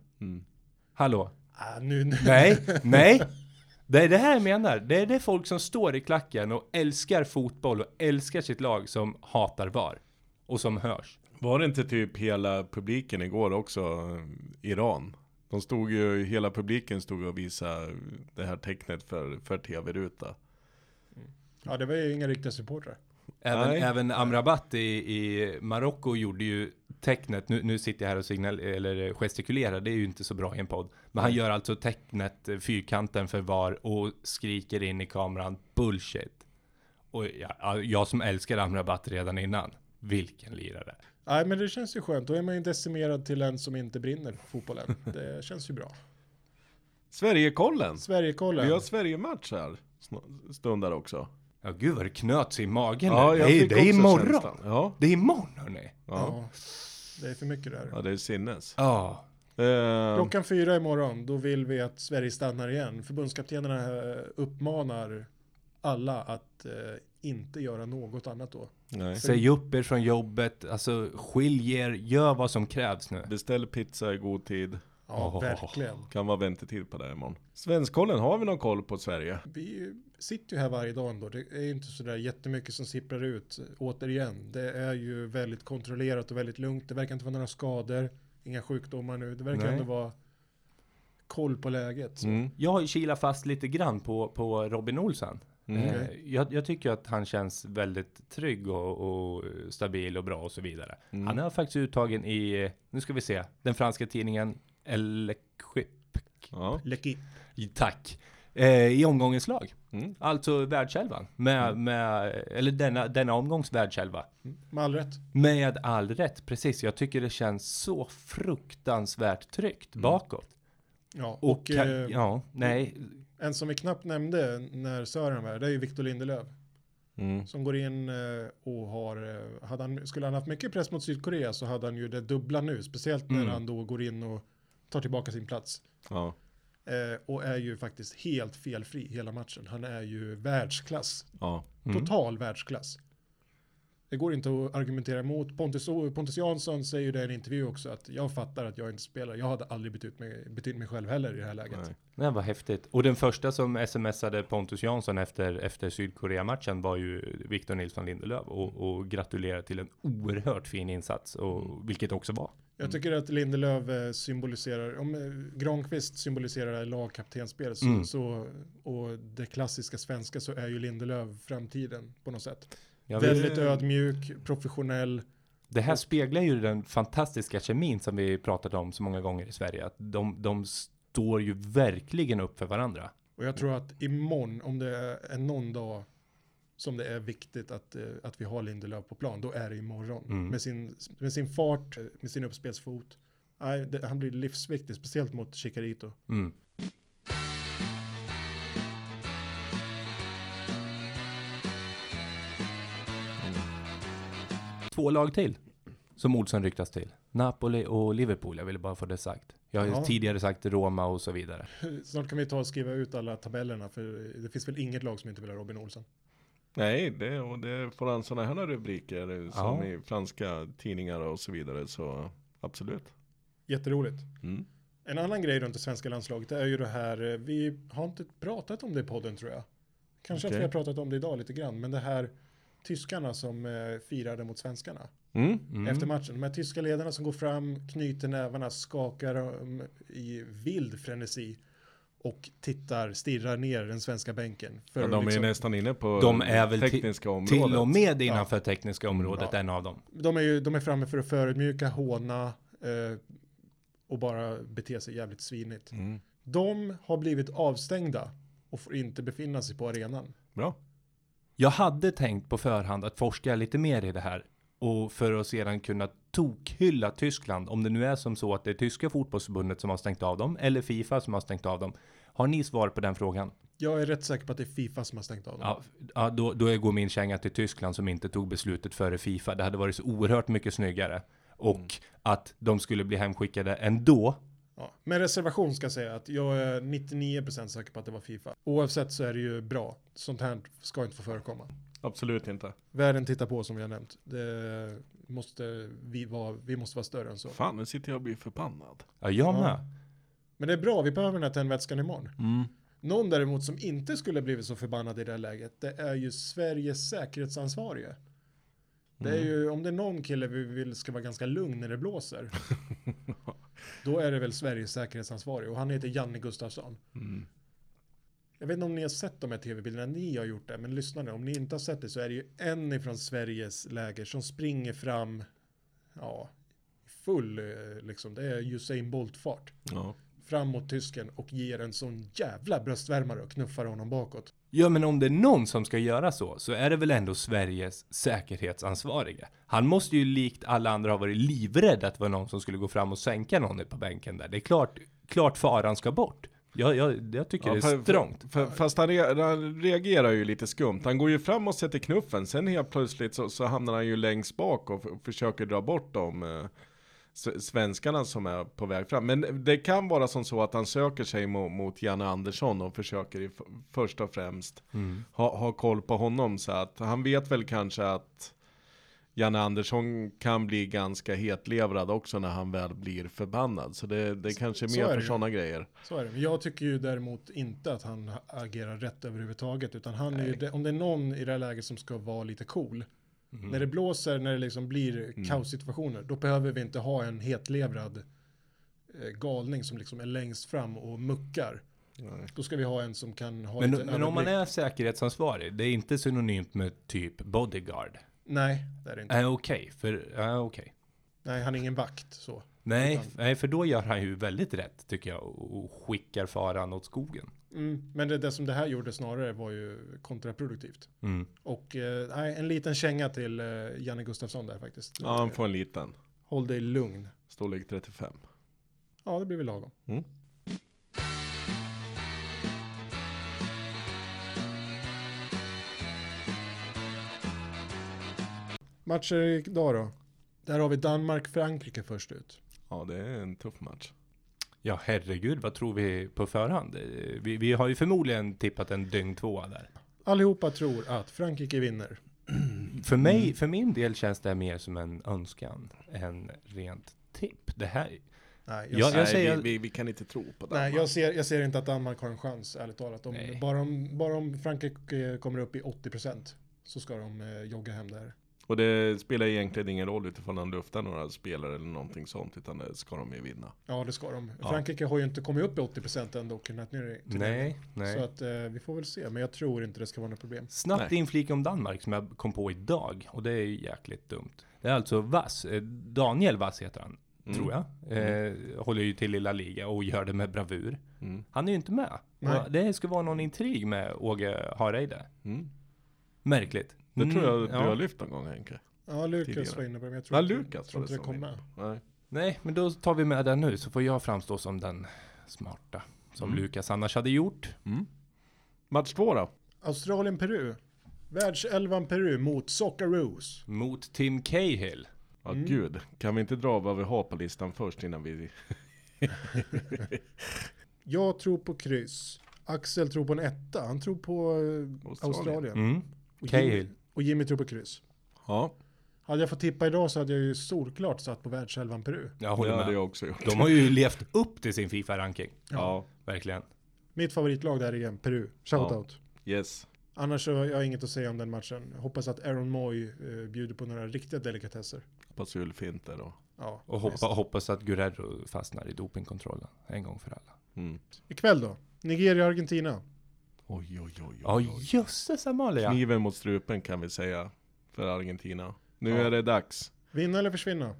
Hallå? Ah, nu, Mm. nu. Nej, nej. Det är det här jag menar. Det är det folk som står i klacken och älskar fotboll och älskar sitt lag som hatar VAR. Och som hörs. Var det inte typ hela publiken igår också, eh, Iran? De stod ju, hela publiken stod och visade det här tecknet för, för tv-ruta. Ja, det var ju inga riktiga supportrar. Även, Nej. även Amrabat i, i Marocko gjorde ju tecknet, nu, nu sitter jag här och signal, eller gestikulerar, det är ju inte så bra i en podd. Men han gör alltså tecknet, eh, fyrkanten för VAR och skriker in i kameran bullshit. Och jag, jag som älskar Amrabat redan innan, vilken lirare. Nej, men det känns ju skönt. Då är man ju decimerad till en som inte brinner för fotbollen. Det känns ju bra. Sverigekollen! Sverigekollen. Vi har Sverigematch här sn- stundar också. Ja gud vad det knöts i magen. Ja, nu. jag det, är- fick det är också imorgon. känslan. Ja. Det är imorgon hörni. Ja. Ja, det är för mycket där. ja, det är sinnes. Ja. Eh, Klockan fyra imorgon, då vill vi att Sverige stannar igen. Förbundskaptenerna eh, uppmanar alla att eh, inte göra något annat då. nej. Säg upp er från jobbet, alltså skilj er, gör vad som krävs nu. Beställ pizza i god tid. Ja, Åh. verkligen. Kan vara väntetid på det här imorgon. Svenskollen, har vi någon koll på Sverige? Vi sitter ju här varje dag ändå. Det är ju inte sådär jättemycket som sipprar ut. eh, Återigen, det är ju väldigt kontrollerat och väldigt lugnt. Det verkar inte vara några skador, inga sjukdomar nu. Det verkar Nej. ändå vara koll på läget. Mm. Jag har ju kilat fast lite grann på, på Robin Olsen. Eh, Mm. Okej. Jag, jag tycker att han känns väldigt trygg och, och stabil och bra och så vidare. Mm. Han är faktiskt uttagen i, eh, nu ska vi se, den franska tidningen Elexip. Ja. Läckigt. Tack. eh, i omgångens lag. Mm. Alltså världselvan. Med, Mm. med, eller denna, denna omgångs världselva. Med all rätt. Med all rätt, precis. Jag tycker det känns så fruktansvärt tryggt bakåt. Ja, Mm. och Och, kan, eh, ja, nej. en som vi knappt nämnde när Sören var här, det är ju Victor Lindelöf. Mm. Som går in eh, och har, eh, hade han, skulle han haft mycket press mot Sydkorea så hade han ju det dubbla nu. Speciellt när Mm. han då går in och tar tillbaka sin plats. Ja. Eh, och är ju faktiskt helt felfri hela matchen. Han är ju världsklass. Ja. Mm. Total världsklass. Det går inte att argumentera emot. Pontus, Pontus Jansson säger ju det i en intervju också att jag fattar att jag inte spelar. Jag hade aldrig bytt ut mig, bytt ut mig själv heller i det här läget. Nej. Det var häftigt. Och den första som smsade Pontus Jansson efter, efter Sydkorea-matchen var ju Victor Nilsson Lindelöf och, och gratulerade till en oerhört fin insats, och, vilket också var. Jag tycker att Lindelöf eh, symboliserar, om eh, Granqvist symboliserar det här lagkaptensspel så, Mm. så, och det klassiska svenska så är ju Lindelöf framtiden på något sätt. Jag vill- Väldigt ödmjuk, professionell. Det här speglar ju den fantastiska kemin som vi pratat om så många gånger i Sverige. Att de, de står ju verkligen upp för varandra. Och jag tror att imorgon, om det är någon dag som det är viktigt att, eh, att vi har Lindelöf på plan, då är det imorgon. Mm. Med, sin, med sin fart, eh, med sin uppspelsfot. Nej, det, han blir livsviktig, speciellt mot Chicarito. Mm. Två lag till som Olsson ryktas till. Napoli och Liverpool. Jag ville bara få det sagt. Jag har ju Ja. tidigare sagt Roma och så vidare. Snart kan vi ta och skriva ut alla tabellerna, för det finns väl inget lag som inte vill ha Robin Olsson. Nej, det, och det får han sådana här rubriker som Ja. i franska tidningar och så vidare. Så absolut. Jätteroligt. Mm. En annan grej runt det svenska landslaget det är ju det här, eh, vi har inte pratat om det i podden tror jag. Kanske att Okej. vi har pratat om det idag lite grann, men det här tyskarna som eh, firade mot svenskarna Mm. Mm. efter matchen. De här tyska ledarna som går fram, knyter nävarna, skakar um, i vild frenesi och tittar, stirrar ner den svenska bänken. För Ja, att de är ju liksom- nästan inne på De är väl ti- tekniska området. Till och med innanför tekniska området, Ja. en av dem. de är ju de är framme för att förödmjuka, håna eh, och bara bete sig jävligt svinigt. Mm. De har blivit avstängda och får inte befinna sig på arenan. Bra. Jag hade tänkt på förhand att forska lite mer i det här och för att sedan kunna tokhylla Tyskland om det nu är som så att det är tyska fotbollsförbundet som har stängt av dem eller Fifa som har stängt av dem. Har ni svar på den frågan? Jag är rätt säker på att det är Fifa som har stängt av dem. Ja, ja då, då går min känga till Tyskland som inte tog beslutet före Fifa. Det hade varit så oerhört mycket snyggare och att de skulle bli hemskickade ändå. Ja. Med reservation ska jag säga att jag är 99% säker på att det var Fifa. Oavsett så är det ju bra. Sånt här ska inte få förekomma. Absolut inte. Världen tittar på som vi har nämnt. Det måste vi, vara, vi måste vara större än så. Fan, nu sitter jag och blir förbannad. Ja, jag Ja. med. Men det är bra, vi behöver den här tändvätskan imorgon. Någon däremot som inte skulle blivit så förbannad i det här läget, det är ju Sveriges säkerhetsansvarige. Det är ju, om det är någon kille vi vill ska vara ganska lugn när det blåser, då är det väl Sveriges säkerhetsansvarige och han heter Janne Gustafsson. Jag vet inte om ni har sett de här tv-bilderna, ni har gjort det, men lyssna nu, om ni inte har sett det så är det ju en ifrån Sveriges läger som springer fram, ja, full eh, liksom, det är Usain Bolt-fart Ja. fram mot tysken och ger en sån jävla bröstvärmare och knuffar honom bakåt. Ja, men om det är någon som ska göra så, så är det väl ändå Sveriges säkerhetsansvarige. Han måste ju likt alla andra ha varit livrädd att det var någon som skulle gå fram och sänka någon på bänken där. Det är klart, klart faran ska bort. Jag, jag, jag tycker det är strångt. För, fast han, re, han reagerar ju lite skumt. Han går ju fram och sätter knuffen. Sen helt plötsligt så, så hamnar han ju längst bak och f- försöker dra bort de eh, s- svenskarna som är på väg fram. Men det kan vara som så att han söker sig mot, mot Janne Andersson och försöker i f- först och främst Mm. ha, ha koll på honom. Så att han vet väl kanske att Janne Andersson kan bli ganska hetlevrad också när han väl blir förbannad. Så det, det kanske är så mer är det för ju. sådana grejer. Så är det. Men jag tycker ju däremot inte att han agerar rätt överhuvudtaget, utan han är ju, det- om det är någon i det här läget som ska vara lite cool, Mhm. när det blåser, när det liksom blir Mm. kaossituationer, då behöver vi inte ha en hetlevrad eh, galning som liksom är längst fram och muckar. Då ska vi ha en som kan ha Men, lite men om man överblick. är säkerhetsansvarig, det är inte synonymt med typ bodyguard. Nej, det är det inte. Äh, okej, för, äh, okej. Nej, han är ingen vakt så. Nej, nej, för då gör han ju väldigt rätt tycker jag och och skickar faran åt skogen. Mm. Men det, det som det här gjorde snarare var ju kontraproduktivt. Mm. Och eh, nej, en liten känga till eh, Janne Gustafsson där faktiskt. Ja, han får en liten. Håll dig lugn. Storlek 35. Ja, det blir väl lagom. Mm. Matcher idag då? Där har vi Danmark-Frankrike först ut. Ja, det är en tuff match. Ja, herregud, vad tror vi på förhand? Eh, Vi, vi har ju förmodligen tippat en dygn tvåa där. Allihopa tror att Frankrike vinner. För mig, Mm. för min del känns det här mer som en önskan än rent tipp. Det här, Nej, jag, Ja, ser, jag säger- vi, vi, vi kan inte tro på det. nej jag, ser, jag ser inte att Danmark har en chans, ärligt talat. Om, Nej. bara, om, bara om Frankrike kommer upp i 80% så ska de eh, jogga hem där. Och det spelar egentligen ingen roll utifrån han luftar några spelare eller någonting sånt, utan det ska de ju vinna. Ja, det ska de. Ja. Frankrike har ju inte kommit upp i 80% ändå och kunnat ner till nej, nej. Så att eh, vi får väl se, men jag tror inte det ska vara något problem. Snabbt inflik om Danmark som jag kom på idag och det är ju jäkligt dumt. Det är alltså Vass, eh, Daniel Vass heter han, Mm. tror jag. Eh, Håller ju till lilla liga och gör det med bravur. Mm. Han är ju inte med. Nej. Och Det ska vara någon intrig med Åge Hareide. Mm. Märkligt. Det tror jag Mm, du ja. har lyft någon gång Henke. Ja, Lukas Tidigare. var inne på det, men jag tror Ja, inte- Lukas tror var inte det det kom som med. Nej. Nej, men då tar vi med den nu så får jag framstå som den smarta. Som Lukas annars hade gjort. Match två då? Australien-Peru. Världselvan Peru mot Socceroos. Mot Tim Cahill. Ja, Mm. gud. Kan vi inte dra vad vi har på listan först innan vi... Jag tror på kryss. Axel tror på en etta. Han tror på eh, Australien. Mm. Och, Jimmy, Cahill. och Jimmy tror på kryss. Ja, Hade jag fått tippa idag så hade jag ju solklart satt på världselvan Peru. Jag det håller hade med. jag också gjort. De har ju levt upp till sin Fifa-ranking. Ja, Verkligen. Mitt favoritlag där igen, Peru. Shoutout. yes. Annars så har jag inget att säga om den matchen. Hoppas att Aaron Moy eh, bjuder på några riktiga delikatesser. Hoppas Ulfinter då. Ja, Och hoppa, hoppas att Guerrero fastnar i dopingkontrollen en gång för alla. Mm. Ikväll då? Nigeria-Argentina. Oj, oj, oj, Ja, oj. jösses Amalia! Kniven mot strupen kan vi säga för Argentina. Nu är det dags. Vinna eller försvinna?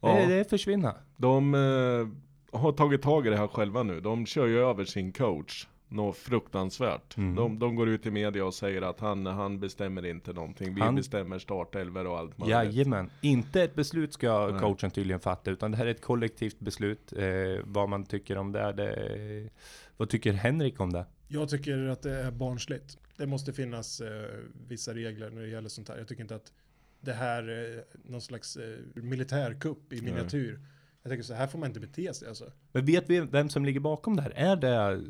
Ja. Det, det är försvinna. De eh, har tagit tag i det här själva nu. De kör ju över sin coach. Något fruktansvärt. Mm. De, de går ut i media och säger att han, han bestämmer inte någonting. Vi Han- bestämmer startelver och allt möjligt. Jajamän. Inte ett beslut ska coachen tydligen fatta, utan det här är ett kollektivt beslut. Eh, vad man tycker om det, det... Vad tycker Henrik om det? Jag tycker att det är barnsligt. Det måste finnas eh, vissa regler när det gäller sånt här. Jag tycker inte att det här är någon slags eh, militärkupp i miniatyr. Jag tänker så här får man inte bete sig alltså. Men vet vi vem som ligger bakom det här? Är det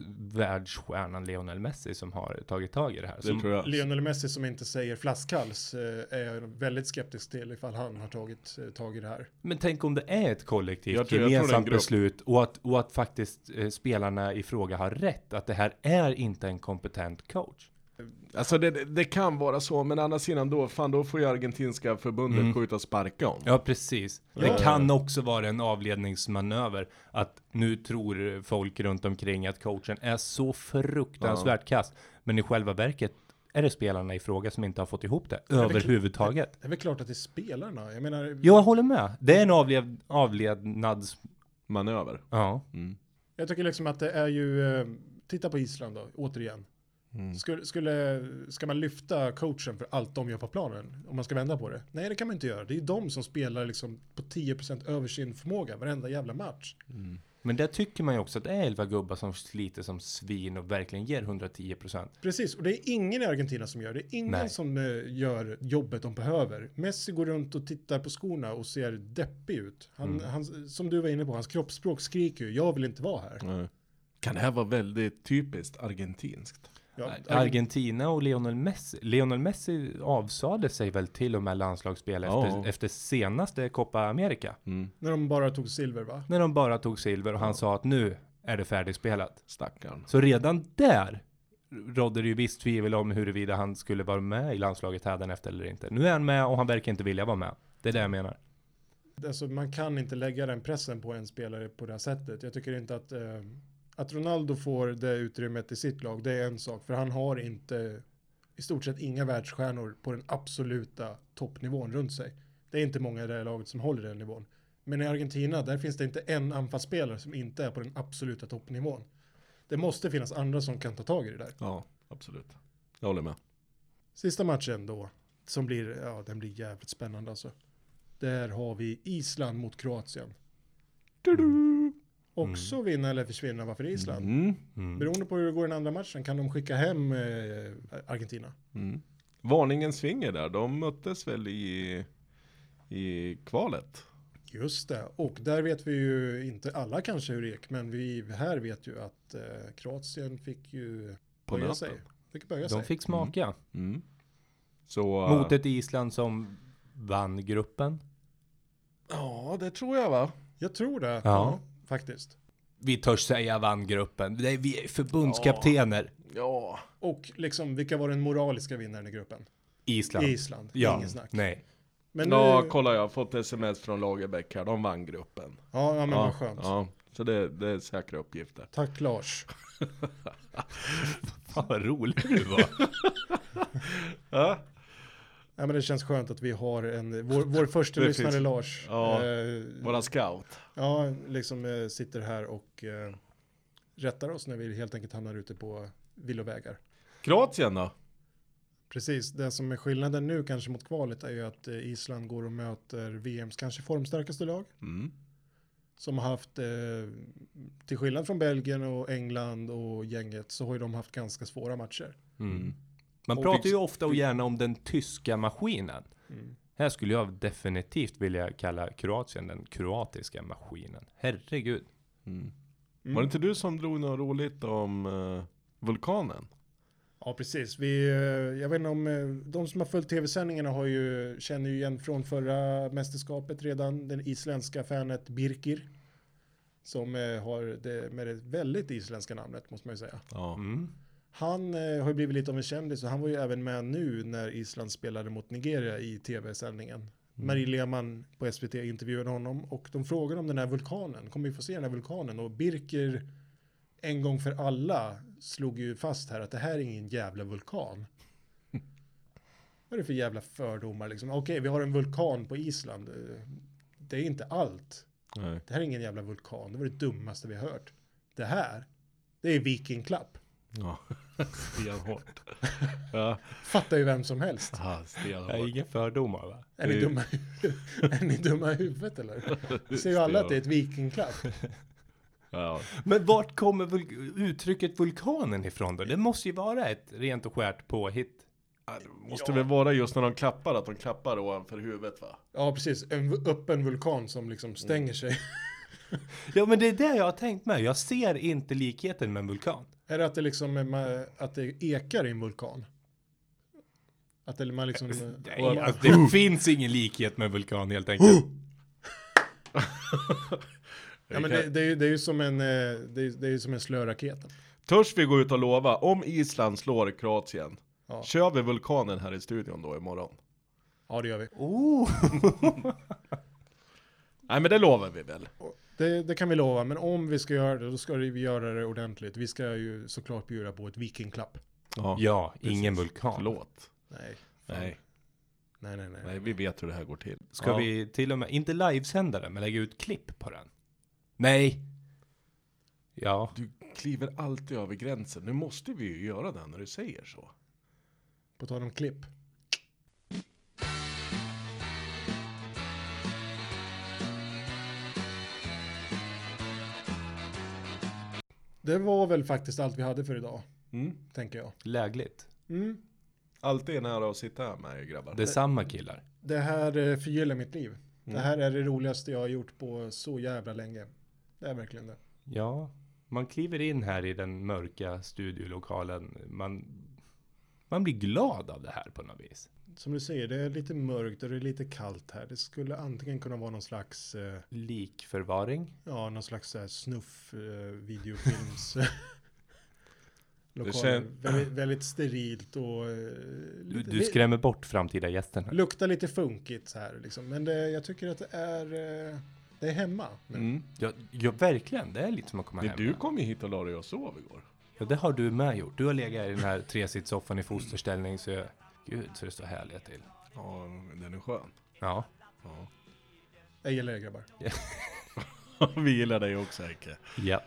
världsstjärnan Lionel Messi som har tagit tag i det här? Det Som- tror jag. Lionel Messi som inte säger flaskhals eh, är jag väldigt skeptisk till ifall han har tagit eh, tag i det här. Men tänk om det är ett kollektivt Jag tror- jag tror det är en gemensamt grupp. beslut och att, och att faktiskt eh, spelarna i fråga har rätt. Att det här är inte en kompetent coach. Alltså det, det- det kan vara så, men å andra sidan då, fan då får ju argentinska förbundet Mm. gå ut och sparka honom. Ja, precis. Det kan också vara en avledningsmanöver. Att nu tror folk runt omkring att coachen är så fruktansvärt kass. Men i själva verket är det spelarna i fråga som inte har fått ihop det överhuvudtaget. Det är väl klart att det är spelarna. Jag menar, Jag håller med. Det är en avled, avlednads... Manöver. Ja. jag tycker liksom att det är ju, eh, titta på Island då, återigen. Skulle, skulle, ska man lyfta coachen för allt de gör på planen? Om man ska vända på det? Nej, det kan man inte göra. Det är ju de som spelar liksom på 10% över sin förmåga varenda jävla match. Men där tycker man ju också att det är elva gubbar som sliter som svin och verkligen ger 110 procent. Precis, och det är ingen i Argentina som gör det. Ingen Nej. som eh, gör jobbet de behöver. Messi går runt och tittar på skorna och ser deppig ut. Han, han, som du var inne på, hans kroppsspråk skriker ju, jag vill inte vara här. Eh, Kan det här vara väldigt typiskt argentinskt? Ja, Argen- Argentina och Lionel Messi. Lionel Messi avsade sig väl till och med landslagsspel Ja. efter, efter senaste Copa America. när de bara tog silver va? När de bara tog silver och han sa att nu är det färdigspelat. Stackarn. Så redan där rådde det ju visst tvivel om huruvida han skulle vara med i landslaget hädanefter eller inte. Nu är han med och han verkar inte vilja vara med. Det är det jag menar. Alltså, man kan inte lägga den pressen på en spelare på det här sättet. Jag tycker inte att, eh, att Ronaldo får det utrymmet i sitt lag, det är en sak. För han har inte, i stort sett inga världsstjärnor på den absoluta toppnivån runt sig. Det är inte många i det här laget som håller den nivån. Men i Argentina, där finns det inte en anfallsspelare som inte är på den absoluta toppnivån. Det måste finnas andra som kan ta tag i det där. Ja, absolut. Jag håller med. Sista matchen då, som blir, ja den blir jävligt spännande alltså. Där har vi Island mot Kroatien. Också vinna eller försvinna, varför Island? Mm. Beroende på hur det går i den andra matchen kan de skicka hem eh, Argentina. Varningens finger där, de möttes väl i, i kvalet? Just det, och där vet vi ju inte alla kanske hur det gick, men vi här vet ju att eh, Kroatien fick ju På böja nöten. sig. Fick böja De sig. fick smaka. Mm. Så... eh, Mot ett Island som vann gruppen. Ja, det tror jag va? Jag tror det, ja. faktiskt. Vi törs säga vann gruppen. Nej, Vi är förbundskaptener. Ja. Och liksom, vilka var den moraliska vinnaren i gruppen? Island. Island, Ja, ingen snack. nej. Men nu, Ja, ja, kolla jag har fått sms från Lagerbäck här, de vann gruppen. ja, men ja, vad skönt. Ja, så det, det är säkra uppgifter. Tack Lars. Fan vad rolig du var. Ja, men det känns skönt att vi har en, vår, vår första Det lyssnare finns- Lars. Ja. eh, Våra scout. ja liksom eh, sitter här och eh, rättar oss när vi helt enkelt hamnar ute på villovägar. Kroatien då? Precis, det som är skillnaden nu kanske mot kvalet är ju att eh, Island går och möter VMs kanske formstarkaste lag. Mm. Som har haft, eh, till skillnad från Belgien och England och gänget, så har ju de haft ganska svåra matcher. Man Och pratar fick- ju ofta och gärna om den tyska maskinen. Här skulle jag definitivt vilja kalla Kroatien den kroatiska maskinen. Herregud. Var det inte du som drog något roligt om eh, vulkanen? Ja, precis. Vi, eh, jag vet inte om, eh, de som har följt tv-sändningarna har ju, känner ju igen från förra mästerskapet redan, den isländska fanet Birkir. Som eh, har det med det väldigt isländska namnet, måste man ju säga. Ja. Mm. Han eh, har ju blivit lite av en kändis och han var ju även med nu när Island spelade mot Nigeria i tv-sändningen. Marie Lehmann på SVT intervjuade honom och de frågade om den här vulkanen. Kommer vi få se den här vulkanen? Och Birker en gång för alla slog ju fast här att det här är ingen jävla vulkan. Vad är det för jävla fördomar liksom? Okej, vi har en vulkan på Island. Eh, Det är inte allt. Nej. Det här är ingen jävla vulkan. Det var det dummaste vi har hört. Det här, det är vikingklapp. Ja. Stenhårt. ja. Fattar ju vem som helst. Ah, stenhårt. inga fördomar va? Är ni, dumma, är ni dumma i huvudet eller? Det ser ju alla att det är ett vikingklapp. Ja. Men vart kommer vul- uttrycket vulkanen ifrån då? Det måste ju vara ett rent och skärt påhitt. Ja, det Måste väl vara just när de klappar, att de klappar ovanför huvudet va? Ja, precis. En v- öppen vulkan som liksom stänger sig. Ja men det är det jag har tänkt med. Jag ser inte likheten med en vulkan. Är det att det liksom är ma- att det ekar i en vulkan? Att det, man liksom... Nej, alltså, det finns ingen likhet med en vulkan helt enkelt. ja, men det, det, är ju, det är ju som en, eh, det är, det är ju som en slöraket. Törs vi gå ut och lova, om Island slår Kroatien, Ja. kör vi vulkanen här i studion då imorgon? Ja, det gör vi. Oh. Nej men det lovar vi väl? Det, det kan vi lova, men om vi ska göra det, då ska vi göra det ordentligt. Vi ska ju såklart bjuda på ett vikingklapp. Ja, Ja, ingen vulkan. förlåt. Nej, Nej, nej, nej. nej. nej vi vet hur det här går till. Ska ja. vi till och med, inte livesända den, men lägga ut klipp på den? Nej. Ja. Du kliver alltid över gränsen, nu måste vi ju göra det när du säger så. På tal om klipp. Det var väl faktiskt allt vi hade för idag, Mm. tänker jag. Lägligt. Mm. Alltid är nära att sitta här med er grabbar. Detsamma killar. Det här eh, förgyller mitt liv. Det här är det roligaste jag har gjort på så jävla länge. Det är verkligen det. Ja, man kliver in här i den mörka studiolokalen. Man, man blir glad av det här på något vis. Som du säger, det är lite mörkt och det är lite kallt här. Det skulle antingen kunna vara någon slags, eh, Likförvaring. ja, någon slags så här snuff eh, videofilms... Lokal, kän- väldigt, väldigt sterilt och eh, Du, lite, du skrämmer bort framtida gästen. här. luktar lite funkigt så här liksom. Men det, jag tycker att det är, eh, det är hemma. nu. Mm. Ja, ja, verkligen. Det är lite som att komma Men hem. du kom ju hit och la dig och sov igår. Ja, det har du med gjort. Du har legat i den här tresitssoffan i fosterställning. Så jag, gud, så det står härliga till. Ja, den är skön. Ja. Ja. Jag gillar er grabbar. Vi gillar dig också Henke. Ja.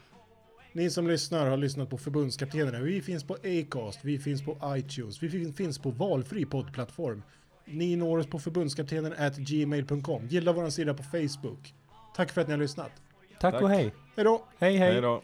Ni som lyssnar har lyssnat på förbundskaptenerna. Vi finns på Acast, vi finns på iTunes, vi fin- finns på valfri poddplattform. Ni når oss på förbundskaptenen at gmail.com. Gilla vår sida på Facebook. Tack för att ni har lyssnat. Tack och hej. Hej då! Hej hej. Hej då.